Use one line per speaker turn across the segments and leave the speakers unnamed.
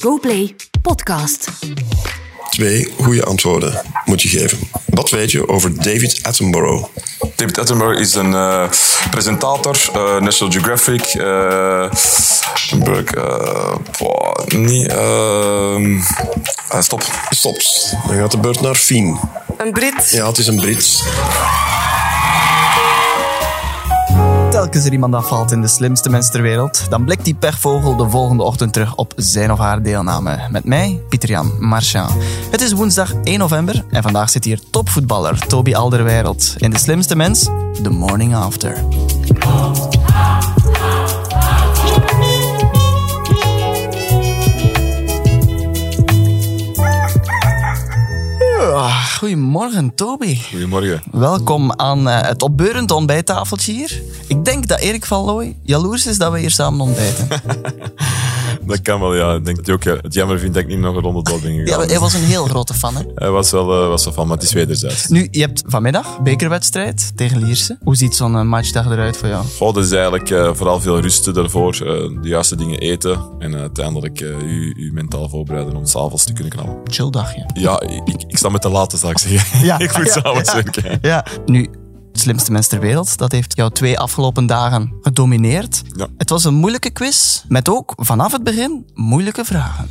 GoPlay Podcast.
Twee goede antwoorden moet je geven. Wat weet je over David Attenborough?
David Attenborough is een eh, presentator, eh, National Geographic. eh Burke, eh, boah, niet, ehm, ah, stop.
Stop. Dan gaat de beurt naar Fien.
Een Brit.
Ja, het is een Brits.
Telkens er iemand afvalt in de slimste mens ter wereld, dan blikt die pechvogel de volgende ochtend terug op zijn of haar deelname. Met mij, Pieter-Jan Marchand. Het is woensdag 1 november en vandaag zit hier topvoetballer Toby Alderweireld in de slimste mens, The Morning After. Ja, Goedemorgen, Toby.
Goedemorgen.
Welkom aan eh, het opbeurend ontbijttafeltje hier. Ik denk dat Erik van Looy jaloers is dat we hier samen ontbijten.
Dat kan wel, ja. Ik denk dat hij ook ja, het jammer vindt dat ik niet nog een ronde door ben
Ja,
gegaan.
hij was een heel grote fan. Hè?
Hij was wel, eh, was wel van, maar het is wederzijds.
Nu, je hebt vanmiddag bekerwedstrijd tegen Lierse. Hoe ziet zo'n eh, matchdag eruit voor jou?
Goh, dat is eigenlijk eh, vooral veel rusten daarvoor, eh, de juiste dingen eten en eh, uiteindelijk eh, u, u mentaal voorbereiden om s'avonds te kunnen knallen.
Chill dagje.
Ja, ik, ik sta met de late, zal ik zeggen.
Ja.
ik moet
Ja,
s'avonds werken.
Ja. Nu, het slimste mens ter wereld, dat heeft jou twee afgelopen dagen gedomineerd.
Ja.
Het was een moeilijke quiz, met ook vanaf het begin moeilijke vragen.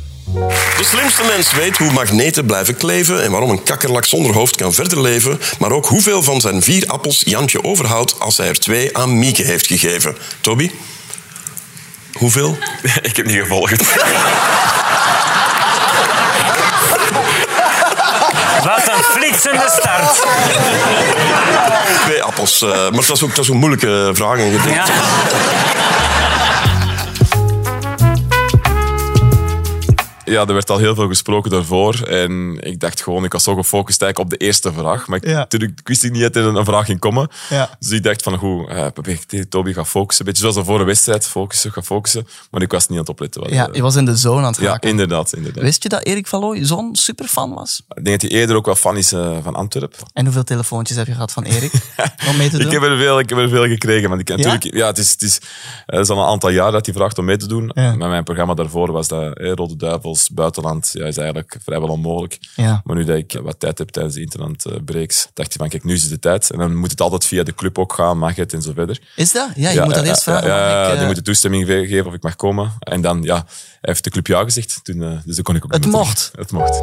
De slimste mens weet hoe magneten blijven kleven en waarom een kakkerlak zonder hoofd kan verder leven, maar ook hoeveel van zijn vier appels Jantje overhoudt als hij er twee aan Mieke heeft gegeven. Toby? Hoeveel?
Ik heb niet gevolgd.
Wat een flitsende start.
Twee appels. eh, maar het was ook, het was ook moeilijke vraag. En je denkt,
Ja.
Ja, er werd al heel veel gesproken daarvoor. En ik dacht gewoon, ik was zo gefocust eigenlijk op de eerste vraag. Maar ik,
Ja.
natuurlijk, ik wist niet dat er een, een vraag ging komen.
Ja.
Dus ik dacht van, goed, eh, probeer ik Toby gaat focussen. Beetje zoals de vorige wedstrijd, focussen, ga focussen. Maar ik was niet aan het opletten. Wat,
Ja,
eh,
je was in de zone aan het
ja,
raken.
inderdaad. inderdaad.
Wist je dat Erik van Looy zo'n superfan was?
Ik denk dat hij eerder ook wel fan is eh, van Antwerpen.
En hoeveel telefoontjes heb je gehad van Erik om mee te doen?
Ik heb, er veel, ik heb er veel gekregen. Want ik, natuurlijk, ja, het, is, het, is, het is al een aantal jaar dat hij vraagt om mee te doen.
Ja.
Maar mijn programma daarvoor was dat eh, Rode Duivels, buitenland, ja, is eigenlijk vrijwel onmogelijk.
Ja.
Maar nu dat ik wat tijd heb tijdens de internetbreaks, breaks, dacht hij van kijk, nu is de tijd. En dan moet het altijd via de club ook gaan, mag het en zo verder.
Is dat? Ja, je moet dat
eh,
eerst
eh,
vragen.
Ja,
maar ik,
ja,
eh,
die moeten toestemming ge- geven of ik mag komen. En dan, ja, hij heeft de club ja gezegd. Toen, eh, dus dan kon ik ook
Het
niet meer
mocht.
terug. Het mocht.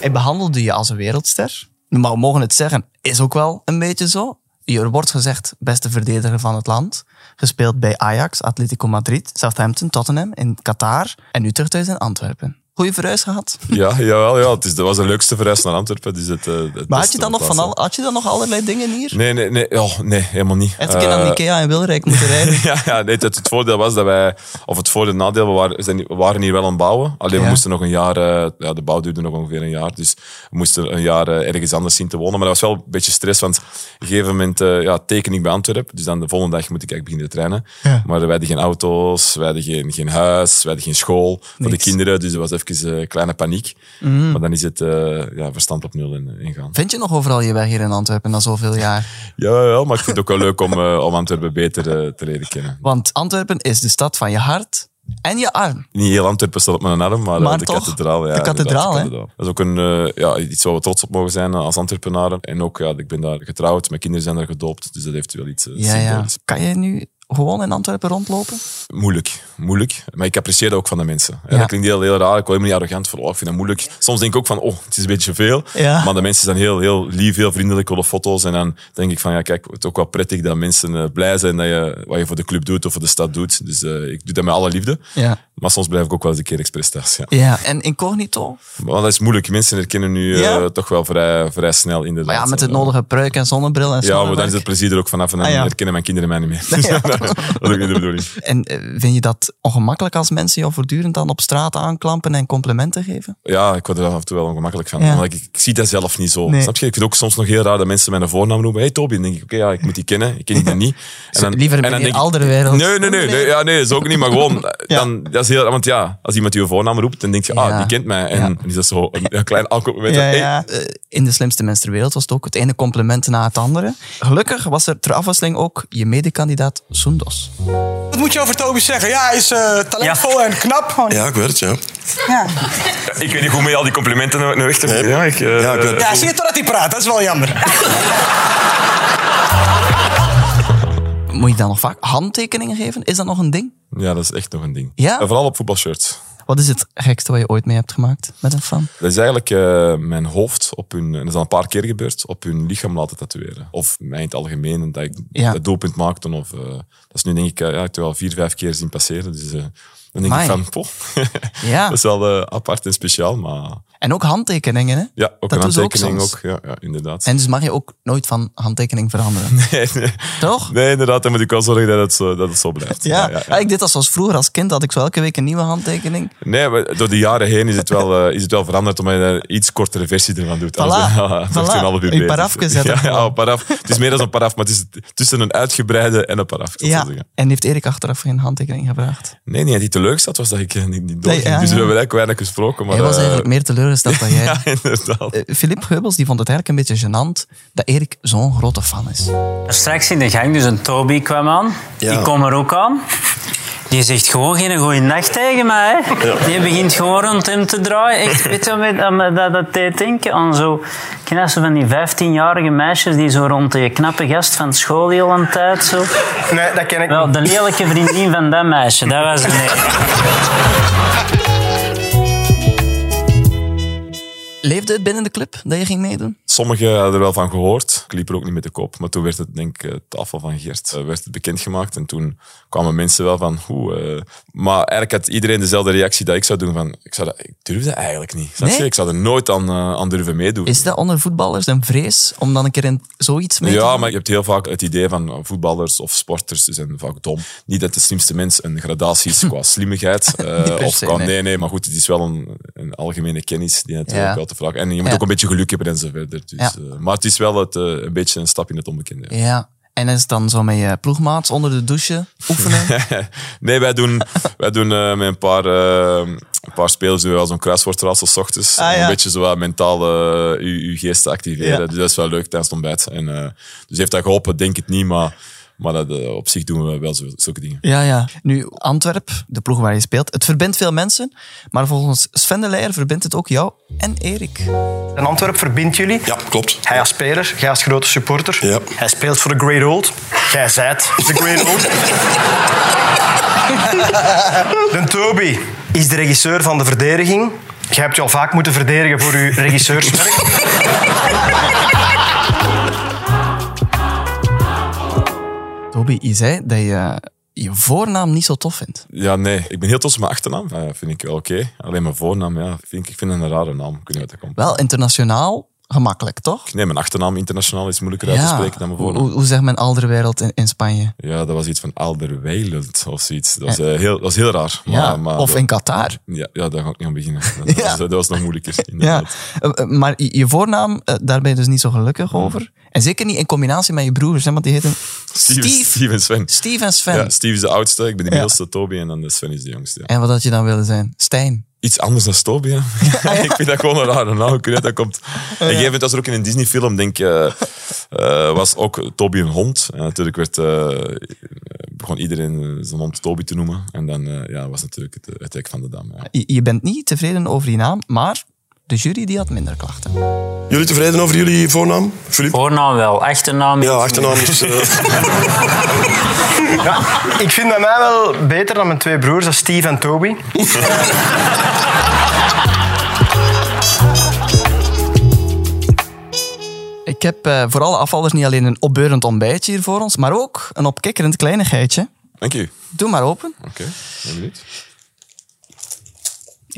Hij behandelde je als een wereldster. Maar we mogen het zeggen, is ook wel een beetje zo. Je wordt gezegd beste verdediger van het land. Gespeeld bij Ajax, Atletico Madrid, Southampton, Tottenham, in Qatar en nu terug thuis in Antwerpen. Goeie verhuis gehad.
Ja, jawel, ja. Het is, dat was de leukste verhuis naar Antwerpen. Dus het, eh, het
Maar had
beste
je, dan nog
plaats,
van al, had je dan nog allerlei dingen hier?
Nee, nee, nee, oh, nee helemaal niet.
Het kind aan
Eh,
Ikea in Wilrijk moeten rijden.
Ja, ja nee, het, het voordeel was dat wij, of het voordeel en nadeel, we waren, we zijn- we waren hier wel aan het bouwen. Alleen
Ja.
we moesten nog een jaar, eh, ja, de bouw duurde nog ongeveer een jaar. Dus we moesten een jaar eh, ergens anders zien te wonen. Maar dat was wel een beetje stress, want op een gegeven moment eh, ja, teken ik bij Antwerpen. Dus dan de volgende dag moet ik eigenlijk beginnen te trainen.
Ja.
Maar wij hadden geen auto's, wij hadden geen, geen huis, wij hadden geen school voor de
Niks. Mhm.
kinderen. Dus er was even eh, kleine paniek. Maar dan is het eh, ja, verstand op nul in- eh, ingaan.
Vind je nog overal je weg hier in Antwerpen na zoveel jaar?
Ja, ja, maar ik vind het ook wel leuk om, eh, om Antwerpen beter eh, te leren kennen.
Want Antwerpen is de stad van je hart en je arm.
Niet heel Antwerpen staat op mijn arm, maar, eh,
Maar
de
toch,
kathedraal. Ja,
de
inderdaad,
kathedraal, hè?
Dat is ook een, eh, ja, iets waar we trots op mogen zijn eh, als Antwerpenaren. En ook, ja, ik ben daar getrouwd, mijn kinderen zijn daar gedoopt, dus dat heeft wel iets eh,
Ja, ja.
symbolisch.
Kan je nu gewoon in Antwerpen rondlopen?
Moeilijk, moeilijk. Maar ik apprecieer dat ook van de mensen. Eh,
Ja.
Dat klinkt heel, heel raar, ik word helemaal niet arrogant voor, oh, ik vind dat moeilijk. Soms denk ik ook van, oh, het is een beetje veel.
Ja.
Maar de mensen zijn heel, heel lief, heel vriendelijk, willen foto's. En dan denk ik van, ja, kijk, het is ook wel prettig dat mensen eh, blij zijn dat je, wat je voor de club doet of voor de stad doet. Dus eh, ik doe dat met alle liefde.
Ja.
Maar soms blijf ik ook wel eens een keer expres thuis, ja.
Ja, en incognito?
Maar dat is moeilijk. Mensen herkennen nu eh,
Ja?
toch wel vrij, vrij snel inderdaad.
Maar ja, met het nodige pruik en zonnebril en
Ja, maar dan
zonnewerk.
is het plezier er ook vanaf en dan
Ah, ja.
herkennen mijn kinderen mij niet meer. dat is ook niet de bedoeling.
En eh, vind je dat ongemakkelijk als mensen jou voortdurend dan op straat aanklampen en complimenten geven?
Ja, ik word er af en toe wel ongemakkelijk van.
Ja.
Omdat ik, ik zie dat zelf niet zo.
Nee.
Snap je? Ik vind het ook soms nog heel raar dat mensen mijn voornaam noemen. hey, Toby. Dan denk ik, oké, ja, ik moet die kennen. Ik ken die dan niet. En dan,
Liever
en dan
meneer
denk ik-
Alderweireld.
Nee, nee, nee. nee, ja, nee dat is ook niet. Maar gewoon, eh,
Ja.
dan, dat is heel raar, want ja, als iemand je voornaam roept, dan denk je, ah,
Ja.
die kent mij. En dan is dat zo een, een klein awkward moment.
Ja,
Hey,
ja. Eh, in de slimste mens ter wereld was het ook het ene compliment na het andere. Gelukkig was er ter afwisseling ook je medekandidaat Soendos.
Wat moet je over Toby zeggen? Ja, hij is eh, talentvol en knap. Gewoon, ja.
Ja, ik weet het, ja.
Ik weet niet hoe mee al die complimenten nou, nou echt te
Nee.
ja, ik, eh,
Ja, ik weet het.
Ja, zie je totdat hij praat. Dat is wel jammer.
Moet je dan nog vaak handtekeningen geven? Is dat nog een ding?
ja, dat is echt nog een ding.
Ja?
En vooral op voetbalshirts.
Wat is het gekste wat je ooit mee hebt gemaakt met een fan?
Dat is eigenlijk eh, mijn hoofd op hun, en dat is al een paar keer gebeurd, op hun lichaam laten tatoeëren. Of mij in het algemeen, dat ik
Ja.
dat doelpunt maakte. Of, eh, dat is nu denk ik, eh, ja, ik heb het wel vier, vijf keer zien passeren. Dus eh, dan denk
Amai.
ik van, poh.
Ja.
dat is wel eh, apart en speciaal, maar
En ook handtekeningen, hè?
ja, ook
Dat
een
doen ze ook
handtekening
soms.
ook. ja, ja, inderdaad.
En dus mag je ook nooit van handtekening veranderen.
Nee, nee.
Toch?
Nee, inderdaad, dan moet ik wel zorgen dat het zo, dat het zo blijft.
Ja. Ah, ik deed dat zoals vroeger als kind, had ik zo elke week een nieuwe handtekening.
Nee, maar door de jaren heen is het wel, eh, is het wel veranderd omdat je een iets kortere versie ervan doet. Anders,
Voilà.
ja, dat is
Voilà.
een half uur
Een
bezig.
parafje zetten.
Ja, ja, een paraf. Het is meer dan een paraf, maar het is tussen een uitgebreide en een paraf. ik zal
Ja.
zo zeggen.
En heeft Erik achteraf geen handtekening gevraagd?
Nee, nee, die te leuk zat was dat ik eh, niet, niet doorging.
Nee, ja,
dus we
ja.
hebben eigenlijk weinig gesproken. Maar,
Hij was
eh,
eigenlijk meer teleurgesteld dan jij.
Ja, inderdaad.
Eh, Philippe Heubels die vond het eigenlijk een beetje gênant dat Erik zo'n grote fan is.
Straks in de gang, dus een Toby kwam aan.
Ja.
Die kwam er ook aan. Die zegt gewoon geen goede nacht tegen mij. hè. Die begint gewoon rond hem te draaien. Echt, weet je wat me- aan me- dat, dat deed denken aan zo knassen van die 15-jarige meisjes die zo rond die knappe gast van school heel een tijd zo.
Nee, dat ken ik
Wel, de lelijke vriendin van dat meisje, dat was het. niet.
Leefde het binnen de club dat je ging meedoen?
Sommigen hadden er wel van gehoord. Ik liep er ook niet mee te koop. Maar toen werd het, denk ik, eh, tafel van Geert eh, werd het bekendgemaakt. En toen kwamen mensen wel van, hoe... eh. Maar eigenlijk had iedereen dezelfde reactie dat ik zou doen. Van, ik, zou dat, ik durf dat eigenlijk niet. Snap je?
Nee?
Ik zou er nooit aan, eh, aan durven meedoen.
Is dat onder voetballers een vrees om dan een keer in zoiets mee te
Ja,
doen?
maar je hebt heel vaak het idee van eh, voetballers of sporters ze zijn vaak dom. Niet dat de slimste mens een gradatie is qua slimmigheid. eh,
Niet per
of
se,
qua,
nee.
nee, nee, maar goed, het is wel een, een algemene kennis die natuurlijk
Ja.
wel te vragen. En je moet
Ja.
ook een beetje geluk hebben en zo verder. Dus,
Ja.
eh, maar het is wel het, eh, een beetje een stap in het onbekende.
Ja. En is het dan zo met je ploegmaats onder de douche oefenen?
nee, wij doen, wij doen eh, met een paar, eh, een paar spelers doen we wel zo'n kruiswoordraadsel 's ochtends.
Ah,
Om
ja.
Een beetje zo wat mentaal eh, uw, uw geest te activeren.
Ja.
Dus dat is wel leuk tijdens het ontbijt. En, eh, dus heeft dat geholpen? Denk het niet, maar, maar dat, eh, op zich doen we wel zo, zulke dingen.
ja, ja. Nu, Antwerp, de ploeg waar je speelt, het verbindt veel mensen. Maar volgens Sven de Leijer verbindt het ook jou en Erik.
Een Antwerp verbindt jullie.
Ja, klopt.
Hij als speler, jij als grote supporter.
Ja.
Hij speelt voor de Great Old. Jij zijt de Great Old. de Toby is de regisseur van de verdediging. Jij hebt je al vaak moeten verdedigen voor je regisseurswerk.
Toby, je zei dat je je voornaam niet zo tof vindt.
Ja, nee. Ik ben heel trots op mijn achternaam. Eh, vind ik wel oké. Alleen mijn voornaam, ja. Vind ik, ik vind het een rare naam. Ik weet niet wat dat komt.
Wel internationaal gemakkelijk, toch?
Nee, mijn achternaam internationaal is moeilijker uit te spreken dan mijn voornaam.
Hoe, hoe zegt men Alderwereld in, in Spanje?
Ja, dat was iets van Alderweilend of zoiets. Dat was, eh, heel, dat was heel raar. Maar,
Ja.
maar
of
dat-
in Qatar.
Ja, ja, daar ga ik niet aan beginnen. Dat,
Ja.
was, dat was nog moeilijker.
Ja.
inderdaad.
Eh, eh, Maar je je voornaam, eh, daar ben je dus niet zo gelukkig
Hmm.
over. En zeker niet in combinatie met je broers, hè, want die heten Steve,
Steve,
Steve,
Steve en Sven.
en Sven.
Ja, Steve is de oudste, ik ben de
Ja.
middelste, Toby, en dan de Sven is de jongste. ja.
En wat had je dan willen zijn? Stijn.
Iets anders dan Toby, ja. ik vind dat gewoon een rare naam. Ik weet niet dat komt. En gegeven moment was er ook in een Disney-film, denk ik, eh, eh, was ook Toby een hond. En natuurlijk werd, eh, begon iedereen eh, zijn hond Toby te noemen. En dan eh, ja, was natuurlijk het, eh, het hek van de dam. Ja.
Je, je bent niet tevreden over die naam, maar de jury die had minder klachten.
Jullie tevreden over jullie voornaam, Filip?
Voornaam wel, achternaam
Ja, achternaam is... eh,
Ja, ik vind dat mij wel beter dan mijn twee broers, dat is Steve en Toby.
Ik heb eh, voor alle afvallers niet alleen een opbeurend ontbijtje hier voor ons, maar ook een opkikkerend kleinigheidje.
Dank je.
Doe maar open.
Oké, ben benieuwd.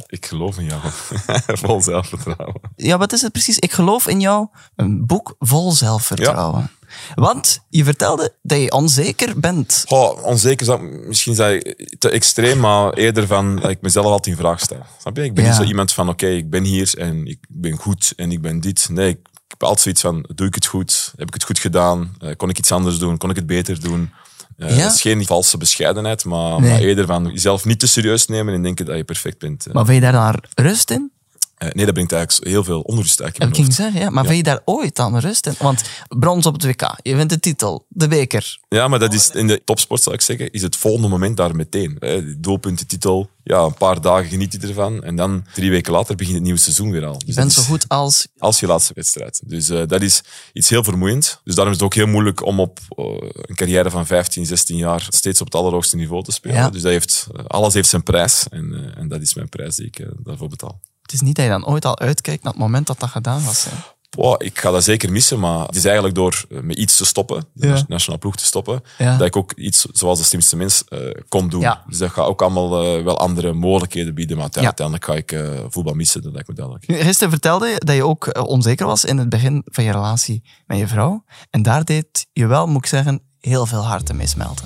Ik geloof in jou. Vol zelfvertrouwen.
Ja, wat is het precies? Ik geloof in jou. Een boek vol zelfvertrouwen. Want je vertelde dat je onzeker bent.
Goh, onzeker zou misschien zijn te extreem, maar eerder van dat ik mezelf altijd in vraag stel. Snap je? Ik ben
Ja.
niet zo iemand van, oké, ik ben hier en ik ben goed en ik ben dit. Nee, ik heb altijd zoiets van, doe ik het goed? Heb ik het goed gedaan? Eh, kon ik iets anders doen? Kon ik het beter doen? Eh,
Ja?
Het is geen valse bescheidenheid, maar,
Nee.
maar eerder van jezelf niet te serieus nemen en denken dat je perfect bent. eh.
Maar vind je daar dan rust in?
Eh, nee, dat brengt eigenlijk heel veel onrust uit in
Dat
mijn
ging ik
hoofd.
zeggen, ja. Maar vind je daar ooit dan rust in? Want brons op het WK, je wint de titel, de beker.
Ja, maar dat is in de topsport, zou ik zeggen, is het volgende moment daar meteen. Eh, Doelpunten, titel, ja, een paar dagen geniet je ervan. En dan drie weken later begint het nieuwe seizoen weer al. Dus
Je
dat
bent zo
is-
goed als...
als je laatste wedstrijd. Dus eh, dat is iets heel vermoeiend. Dus daarom is het ook heel moeilijk om op eh, een carrière van 15, 16 jaar steeds op het allerhoogste niveau te spelen.
Ja.
Dus dat heeft, eh, alles heeft zijn prijs. En, eh, en dat is mijn prijs die ik eh, daarvoor betaal.
Het is niet dat je dan ooit al uitkijkt naar het moment dat dat gedaan was. hè.
Boah, ik ga dat zeker missen, maar het is eigenlijk door eh, met iets te stoppen, de
Ja.
nas- nationale ploeg te stoppen,
Ja.
dat ik ook iets zoals de slimste mens eh, kon doen.
Ja.
Dus dat gaat ook allemaal eh, wel andere mogelijkheden bieden, maar
Ja.
uiteindelijk ga ik eh, voetbal missen, dat lijkt me duidelijk.
Gisteren vertelde je dat je ook eh, onzeker was in het begin van je relatie met je vrouw. En daar deed je wel, moet ik zeggen, heel veel harten mee smelten.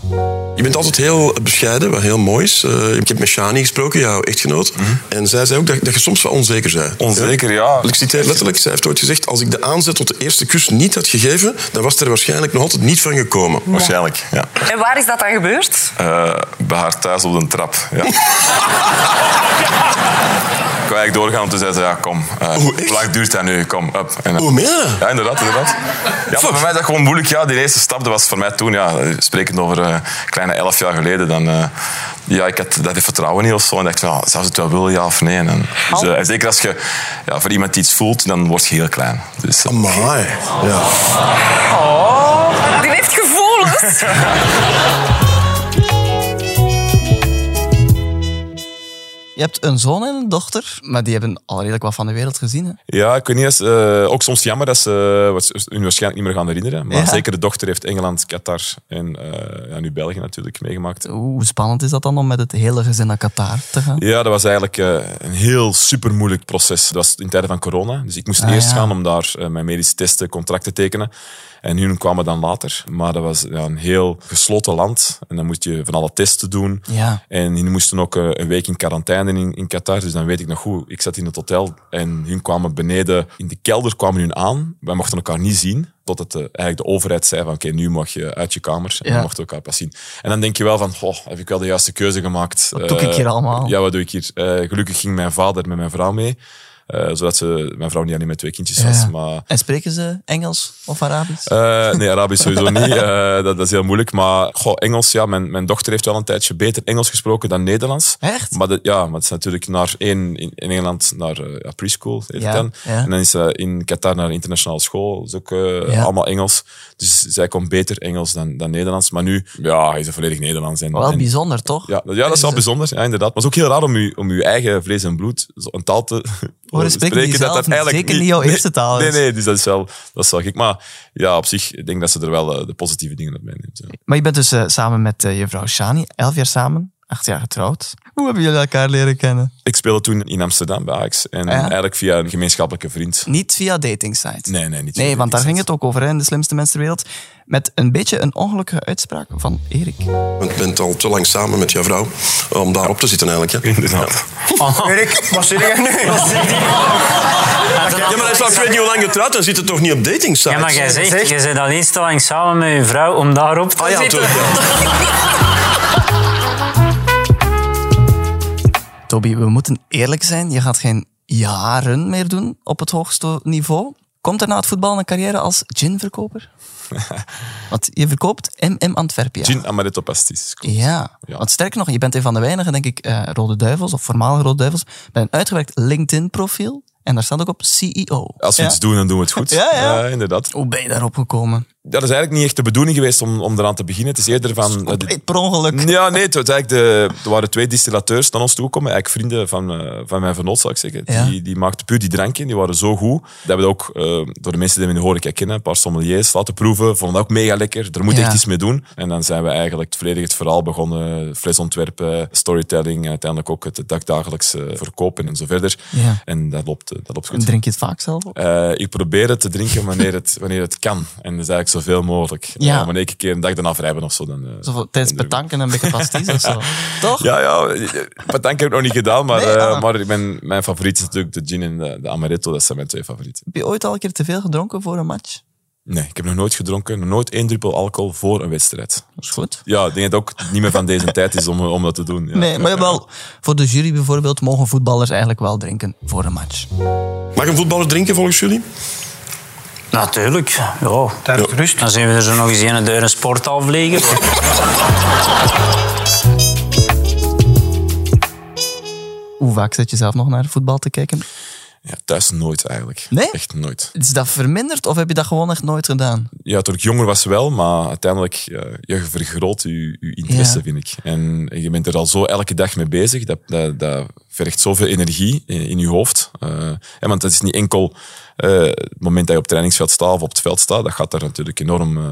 Je bent altijd heel bescheiden, wat heel mooi is. Eh, ik heb met Shani gesproken, jouw echtgenoot.
Mhm.
En zij zei ook dat, dat je soms wel onzeker bent.
Onzeker, ja.
Ik citeer letterlijk, zij heeft ooit gezegd... als ik de aanzet tot de eerste kus niet had gegeven... dan was het er waarschijnlijk nog altijd niet van gekomen.
Waarschijnlijk, ja.
En waar is dat dan gebeurd?
Eh, bij haar thuis op de trap, ja. ik wou eigenlijk doorgaan om te zeggen, ja, kom.
Oh,
eh,
Oeh, echt?
hoe lang duurt dat nu? Kom, up. En, dan-
Oh, meen je dat?
Ja, inderdaad, inderdaad. Ja, maar voor mij is dat gewoon moeilijk. Ja, die eerste stap, dat was voor mij toen, ja, sprekend over eh, kleine elf jaar geleden, dan... eh, ja, ik had dat die vertrouwen niet of zo. En dacht, van, ja, zou ze het wel willen, ja of nee? En, dan- dus, eh, en zeker als je ja, voor iemand iets voelt, dan word je heel klein. Dus, eh,
Amai. Ja.
Oh, Die heeft gevoelens.
Je hebt een zoon en een dochter, maar die hebben al redelijk wat van de wereld gezien. Hè?
Ja, ik weet niet. dat is, eh, ook soms jammer dat ze eh, wat ze hun waarschijnlijk niet meer gaan herinneren. Maar
Ja.
zeker de dochter heeft Engeland, Qatar en eh, ja, nu België natuurlijk meegemaakt.
Hoe spannend is dat dan om met het hele gezin naar Qatar te gaan?
Ja, dat was eigenlijk eh, een heel super moeilijk proces. Dat was in tijden van corona. Dus ik moest eerst
Ah, ja.
gaan om daar eh, mijn medische testen, contracten te tekenen. En hun kwamen dan later. Maar dat was ja, een heel gesloten land. En dan moest je van alle testen doen.
Ja.
En hun moesten ook eh, een week in quarantaine in, in Qatar. Dus dan weet ik nog goed, ik zat in het hotel en hun kwamen beneden in de kelder kwamen hun aan. Wij mochten elkaar niet zien. Totdat de, eigenlijk de overheid zei van oké, nu mag je uit je kamer. En
Ja.
dan mochten we elkaar pas zien. En dan denk je wel van, oh, heb ik wel de juiste keuze gemaakt? Wat
doe ik hier allemaal?
Eh, Ja, wat doe ik hier? Eh, gelukkig ging mijn vader met mijn vrouw mee. eh, zodat ze, mijn vrouw niet alleen met twee kindjes was.
Ja.
Maar
En spreken ze Engels of Arabisch?
eh, nee, Arabisch sowieso niet. Eh, dat, dat is heel moeilijk. Maar goh, Engels, ja, mijn, mijn dochter heeft wel een tijdje beter Engels gesproken dan Nederlands.
Echt?
Maar dat, ja, maar het is natuurlijk naar één, in, in Engeland naar eh, ja, preschool. Heet
Ja,
het dan.
ja.
En dan is ze in Qatar naar een internationale school. Dat is ook eh,
Ja.
allemaal Engels. Dus zij kon beter Engels dan, dan Nederlands. Maar nu, ja, is het volledig Nederlands. En,
wel
en-
bijzonder, toch? Dus, eh,
ja, dat- ja, dat is wel bijzonder, ja, inderdaad. Maar het is ook heel raar om je, om uw eigen vlees en bloed, zo- een taal te
Horen spreken Oh, die zelf niet, zeker niet jouw
nee,
eerste taal
Nee,
is.
nee, dus dat is, wel, dat is wel gek. Maar ja, op zich, ik denk dat ze er wel eh, de positieve dingen uit meeneemt. ja.
Maar je bent dus eh, samen met eh, je vrouw Shani, elf jaar samen, acht jaar getrouwd. Hoe hebben jullie elkaar leren kennen?
Ik speelde toen in Amsterdam bij Ajax. En
Ah, ja?
eigenlijk via een gemeenschappelijke vriend.
Niet via datingsites.
Nee, nee, niet
Nee,
via
want daar
datingsites.
ging het ook over hè, in de slimste mensen ter wereld. Met een beetje een ongelukkige uitspraak van Erik.
Je bent al te lang samen met jouw vrouw om daarop te zitten eigenlijk. Hè?
inderdaad.
Oh,
Erik, wat zit jij nu?
Ja, maar hij is al ik weet niet hoe lang getrouwd, dan zit het toch niet op dating sites?
Ja, maar jij zegt,
Zegt-
je zit al eens te lang samen met je vrouw om daarop te
Ah ja,
zitten.
natuurlijk.
Toby, we moeten eerlijk zijn. Je gaat geen jaren meer doen op het hoogste niveau. Komt er na het voetbal een carrière als ginverkoper? Want je verkoopt MM Antwerpia.
Gin Amaretto Pastis.
Ja.
Ja.
want sterker nog, je bent een van de weinigen, denk ik, eh, Rode Duivels of voormalige Rode Duivels, met een uitgewerkt LinkedIn-profiel. En daar staat ook op CEO.
Als we
Ja?
iets doen, dan doen we het goed.
Ja, ja.
inderdaad.
Hoe ben je daarop gekomen?
Dat is eigenlijk niet echt de bedoeling geweest om, om eraan te beginnen. Het is eerder van... eh, dit-
Compleet per ongeluk.
Ja, nee, het was eigenlijk de, er waren twee distillateurs naar ons toegekomen. Eigenlijk vrienden van, eh, van mijn vernoot, zou ik zeggen.
Ja.
Die, die maakten puur die drank in. Die waren zo goed. Dat we dat ook eh, door de mensen die we in de horeca kennen, een paar sommeliers, laten proeven. Vonden dat ook mega lekker. Er moet
Ja.
echt iets mee doen. En dan zijn we eigenlijk volledig het verhaal begonnen. Flesontwerpen, storytelling en uiteindelijk ook het dagdagelijks eh, verkopen en zo verder.
Ja.
En dat loopt, eh, dat loopt goed.
Drink je het vaak zelf? ook?
Eh, ik probeer het te drinken wanneer het, wanneer het kan. En dat is eigenlijk zoveel mogelijk.
Ja.
Eh, wanneer ik een keer een dag daarna vrij ben of zo. Dan, eh,
Zo van, tijdens
dan doe ik-
betanken en een beetje pasties of zo. Toch?
ja, ja. Patank heb ik nog niet gedaan, maar,
Oh. Nee,
eh,
ah.
maar mijn, mijn favoriet is natuurlijk de gin en de, de amaretto. Dat zijn mijn twee favorieten.
Heb je ooit al een keer te veel gedronken voor een match?
Nee, ik heb nog nooit gedronken. Nog nooit één druppel alcohol voor een wedstrijd.
Dat is goed.
Ja, ik denk dat het ook niet meer van deze tijd is om, om dat te doen. Ja.
Nee, maar wel, voor de jury bijvoorbeeld mogen voetballers eigenlijk wel drinken voor een match.
Mag een voetballer drinken volgens jullie?
Natuurlijk, ja.
Daar is rust.
Dan zien we er zo nog eens een deur een sport afleggen.
Hoe vaak zet je zelf nog naar voetbal te kijken?
Ja, thuis nooit eigenlijk.
Nee?
Echt nooit.
Is dat verminderd of heb je dat gewoon echt nooit gedaan?
Ja, toen ik jonger was wel, maar uiteindelijk eh, je vergroot je, je interesse,
Ja.
vind ik. En je bent er al zo elke dag mee bezig. Dat, dat, dat vergt zoveel energie in, in je hoofd. Eh, hè, want het is niet enkel eh, het moment dat je op het trainingsveld staat of op het veld staat. Dat gaat daar natuurlijk enorm eh,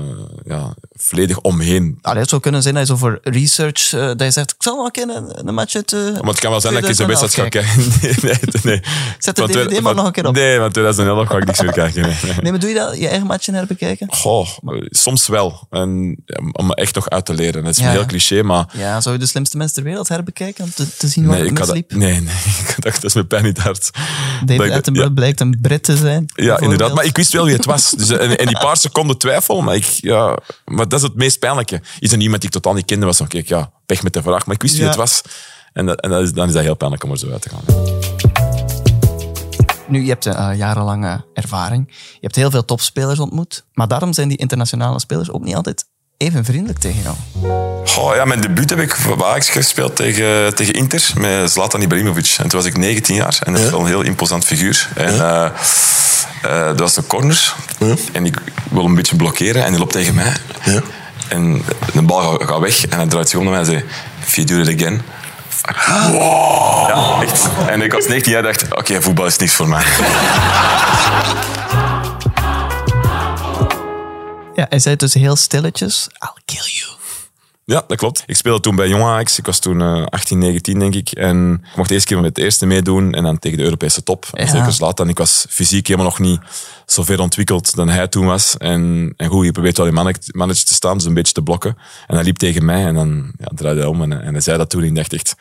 ja, volledig omheen.
Allee, het zou kunnen zijn dat je zo voor research, eh, dat je zegt, ik zal wel kennen een match uit... eh,
Maar het kan wel zijn dat ik eens de
2011
wedstrijd ga
kijken.
kijken. Nee, nee, nee.
Zet de
Van twe-
DVD maar
van-
nog een keer op.
Nee, want 2011 ga ik niks meer kijken. nee, nee.
Nee, maar doe je dat, je eigen matchen herbekijken?
Goh, eh, soms wel. En, ja, om me echt nog uit te leren. Dat is
Ja.
heel cliché, maar...
Ja, zou je de slimste mens ter wereld herbekijken om te, te zien waar
Nee,
het
ik had
misliep?
dat, nee, nee, ik dacht, dat is mijn pijn in het hart. Dat
David
ik-
Attenborough
ja,
blijkt een Brit te zijn.
ja,
bijvoorbeeld.
inderdaad. Maar ik wist wel wie het was. Dus, eh, en, en die paar seconden twijfel, maar, ik, ja, maar dat is het meest pijnlijke. Is er iemand die ik totaal niet kende, was dan kijk, ja, pech met de vraag. Maar ik wist wie
Ja.
het was. En, dat, en dat is, dan is dat heel pijnlijk om er zo uit te gaan.
Nu, je hebt een eh, jarenlange ervaring. Je hebt heel veel topspelers ontmoet. Maar daarom zijn die internationale spelers ook niet altijd even vriendelijk tegen jou.
Goh, ja, mijn debuut heb ik voor Ajax gespeeld tegen, tegen Inter met Zlatan Ibrahimovic. En toen was ik 19 jaar en dat is wel een heel imposant figuur. En, eh, eh, dat was de corner. En ik wil hem een beetje blokkeren en die loopt tegen mij. En de bal gaat, gaat weg en hij draait zich om naar mij en zegt: If you do it again. Wow. Ja, echt. En ik was 19 jaar en dacht: Oké, voetbal is niks voor mij.
Ja, hij zei dus heel stilletjes, I'll kill you.
Ja, dat klopt. Ik speelde toen bij Jong Ajax. Ik was toen eh, 18, 19 denk ik. En ik mocht de eerste keer met het eerste meedoen en dan tegen de Europese top. En
Ja.
Zeker Zlatan. Ik was fysiek helemaal nog niet zo ver ontwikkeld dan hij toen was. En, en goed, je probeert wel in mannetje mannetje te staan, dus een beetje te blokken. En hij liep tegen mij en dan ja, draaide hij om en, en hij zei dat toen. En ik dacht echt,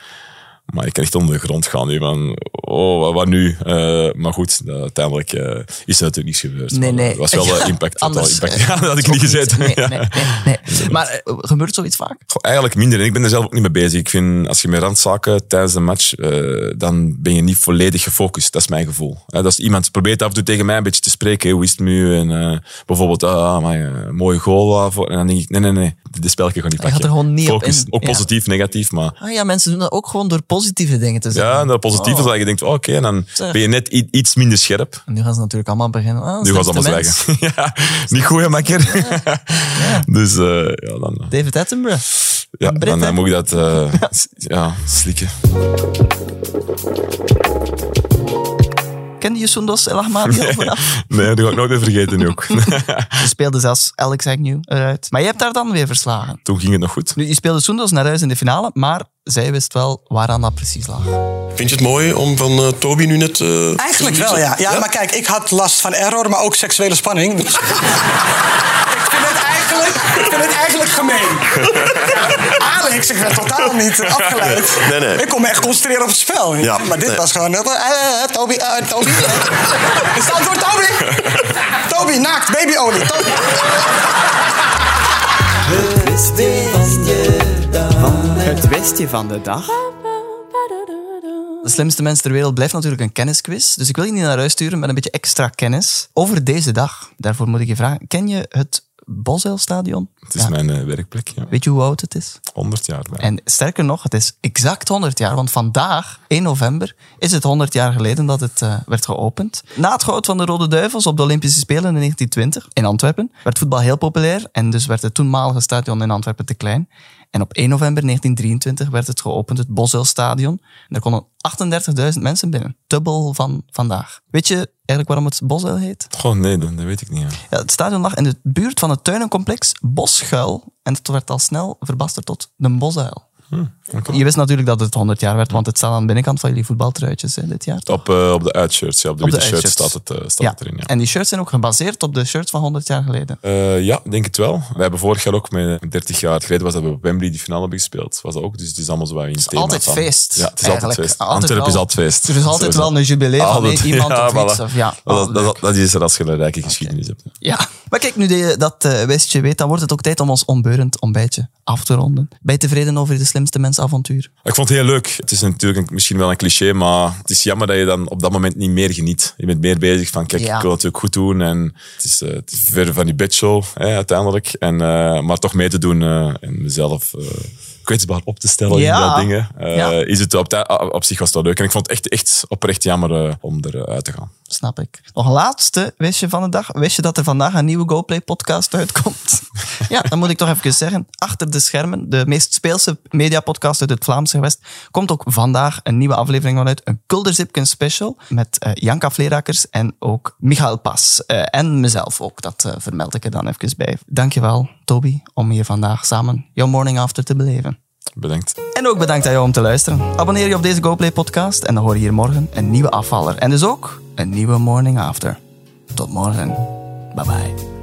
maar ik kan echt onder de grond gaan nu. Van, oh, wat, wat nu? Eh, maar goed, eh, uiteindelijk eh, is er natuurlijk niets gebeurd.
Nee,
Maar
nee.
Het was wel
Ja,
eh, impact. het had wel
anders,
impact.
eh,
Ja, dat had ik niet gezet.
Nee,
Ja.
nee, nee. nee. Maar eh, gebeurt zoiets vaak?
Goh, Eigenlijk minder. En ik ben er zelf ook niet mee bezig. Ik vind, als je met randzaken tijdens de match, eh, dan ben je niet volledig gefocust. Dat is mijn gevoel. Eh, dat is iemand probeert af en toe tegen mij een beetje te spreken. hè, Hoe is het nu? En eh, bijvoorbeeld, ah, maar, eh, mooie goal. daarvoor. En dan denk ik, nee, nee, nee. Dit dit spelje gewoon niet
Hij
pakken.
gaat er gewoon niet op
Focus.
in.
Ook
Ja.
positief, negatief, maar...
Ah ja, mensen doen dat ook gewoon door positieve dingen te zeggen.
Ja, en dat positief is
Oh.
dat je denkt, oh, oké, dan
Zeg.
ben je net i- iets minder scherp.
En nu gaan ze natuurlijk allemaal beginnen. Ah,
Nu was
slimste
allemaal
mens.
zwijgen. ja, niet goed, hè, makker. dus eh, ja, dan, eh,
David Attenborough.
ja,
Brit,
dan eh,
hè?
moet ik dat eh, s- ja, slikken.
Kende je Sundos El Ahmadi al vanaf?
Nee, dat ga ik nooit meer vergeten nu ook.
Je speelde zelfs Alex Agnew eruit. Maar je hebt daar dan weer verslagen.
Toen ging het nog goed.
Nu, je speelde Sundos naar huis in de finale, maar zij wist wel waaraan dat precies lag.
Vind je het mooi om van eh, Toby nu net... eh,
Eigenlijk wel, ja. ja. Maar kijk, ik had last van error, maar ook seksuele spanning. Dus... ik, vind het eigenlijk, ik vind het eigenlijk gemeen. Alex, ik werd totaal niet afgeleid.
Nee, nee.
Ik kon me echt concentreren op het spel.
Ja,
maar dit
nee.
was gewoon... eh, eh, Toby, eh, Toby. eh. Is dat voor Toby? Toby, naakt, babyolie. Toby.
Het westje van de dag. De slimste mens ter wereld blijft natuurlijk een kennisquiz. Dus ik wil je niet naar huis sturen met een beetje extra kennis over deze dag. Daarvoor moet ik je vragen: ken je het Bosuilstadion?
Het is mijn eh, werkplek, ja.
Weet je hoe oud het is?
100 jaar bijna.
En sterker nog, het is exact 100 jaar. Want vandaag, 1 november, is het 100 jaar geleden dat het eh, werd geopend. Na het goud van de Rode Duivels op de Olympische Spelen in 1920 in Antwerpen werd voetbal heel populair. En dus werd het toenmalige stadion in Antwerpen te klein. En op 1 november 1923 werd het geopend, het Bosuilstadion. En er konden 38.000 mensen binnen. Dubbel van vandaag. Weet je eigenlijk waarom het Bosuil heet?
Goh, nee, dat, dat weet ik niet. Ja.
Ja, het stadion lag in de buurt van het tuinencomplex Boschuil. En het werd al snel verbasterd tot de Bosuil.
Hmm,
Je wist natuurlijk dat het 100 jaar werd, want het staat aan de binnenkant van jullie voetbaltruitjes hè, dit jaar.
Op, eh, op de uitshirts, ja, op de
Op de
witte shirts
uitshirts.
staat het, eh, staat
Ja,
het erin. Ja.
en die shirts zijn ook gebaseerd op de shirts van 100 jaar geleden.
Eh, ja, ik denk het wel. Wij hebben vorig jaar ook, met 30 jaar geleden, was dat we op Wembley die finale hebben gespeeld. Was dat ook, dus het is allemaal zo wat in het thema.
altijd
van- Ja,
feest,
het is altijd
eigenlijk.
feest.
Altijd
Antwerpen
wel.
is altijd feest.
Er is altijd
Sowieso.
wel een jubileum van
Altijd.
iemand
Ja,
of iets.
voilà.
Of, ja,
dat,
oh,
dat-
leuk.
dat is er als je een rijke geschiedenis hebt.
ja. Maar kijk, nu dat je dat eh, westje weet, dan wordt het ook tijd om ons onbeurend ontbijtje af te ronden. Ben je tevreden over de slimste mensavontuur?
Ik vond het heel leuk. Het is natuurlijk een- misschien wel een cliché, maar het is jammer dat je dan op dat moment niet meer geniet. Je bent meer bezig van, kijk,
Ja.
ik wil het ook goed doen. En het is, eh, het is ver van die bedshow, hè, uiteindelijk. En, eh, maar toch mee te doen eh, en mezelf eh, kwetsbaar op te stellen in
Ja.
dat dingen. Eh,
Ja.
is het op, tij- op zich was dat leuk. En ik vond het echt, echt oprecht jammer eh, om eruit te gaan.
Snap ik. Nog een laatste wistje van de dag. Wist je dat er vandaag een nieuwe GoPlay-podcast uitkomt? ja, dat moet ik toch even zeggen. Achter de schermen, de meest speelse mediapodcast uit het Vlaamse gewest, komt ook vandaag een nieuwe aflevering vanuit een Kulderzipken special met eh, Janka Vlerakers en ook Michael Pas. Eh, en mezelf ook, dat eh, vermeld ik er dan even bij. Dankjewel, Toby, om hier vandaag samen jouw morning after te beleven.
Bedankt.
En ook bedankt aan jou om te luisteren. Abonneer je op deze GoPlay-podcast en dan hoor je hier morgen een nieuwe afvaller. En dus ook een nieuwe Morning After. Tot morgen. Bye bye.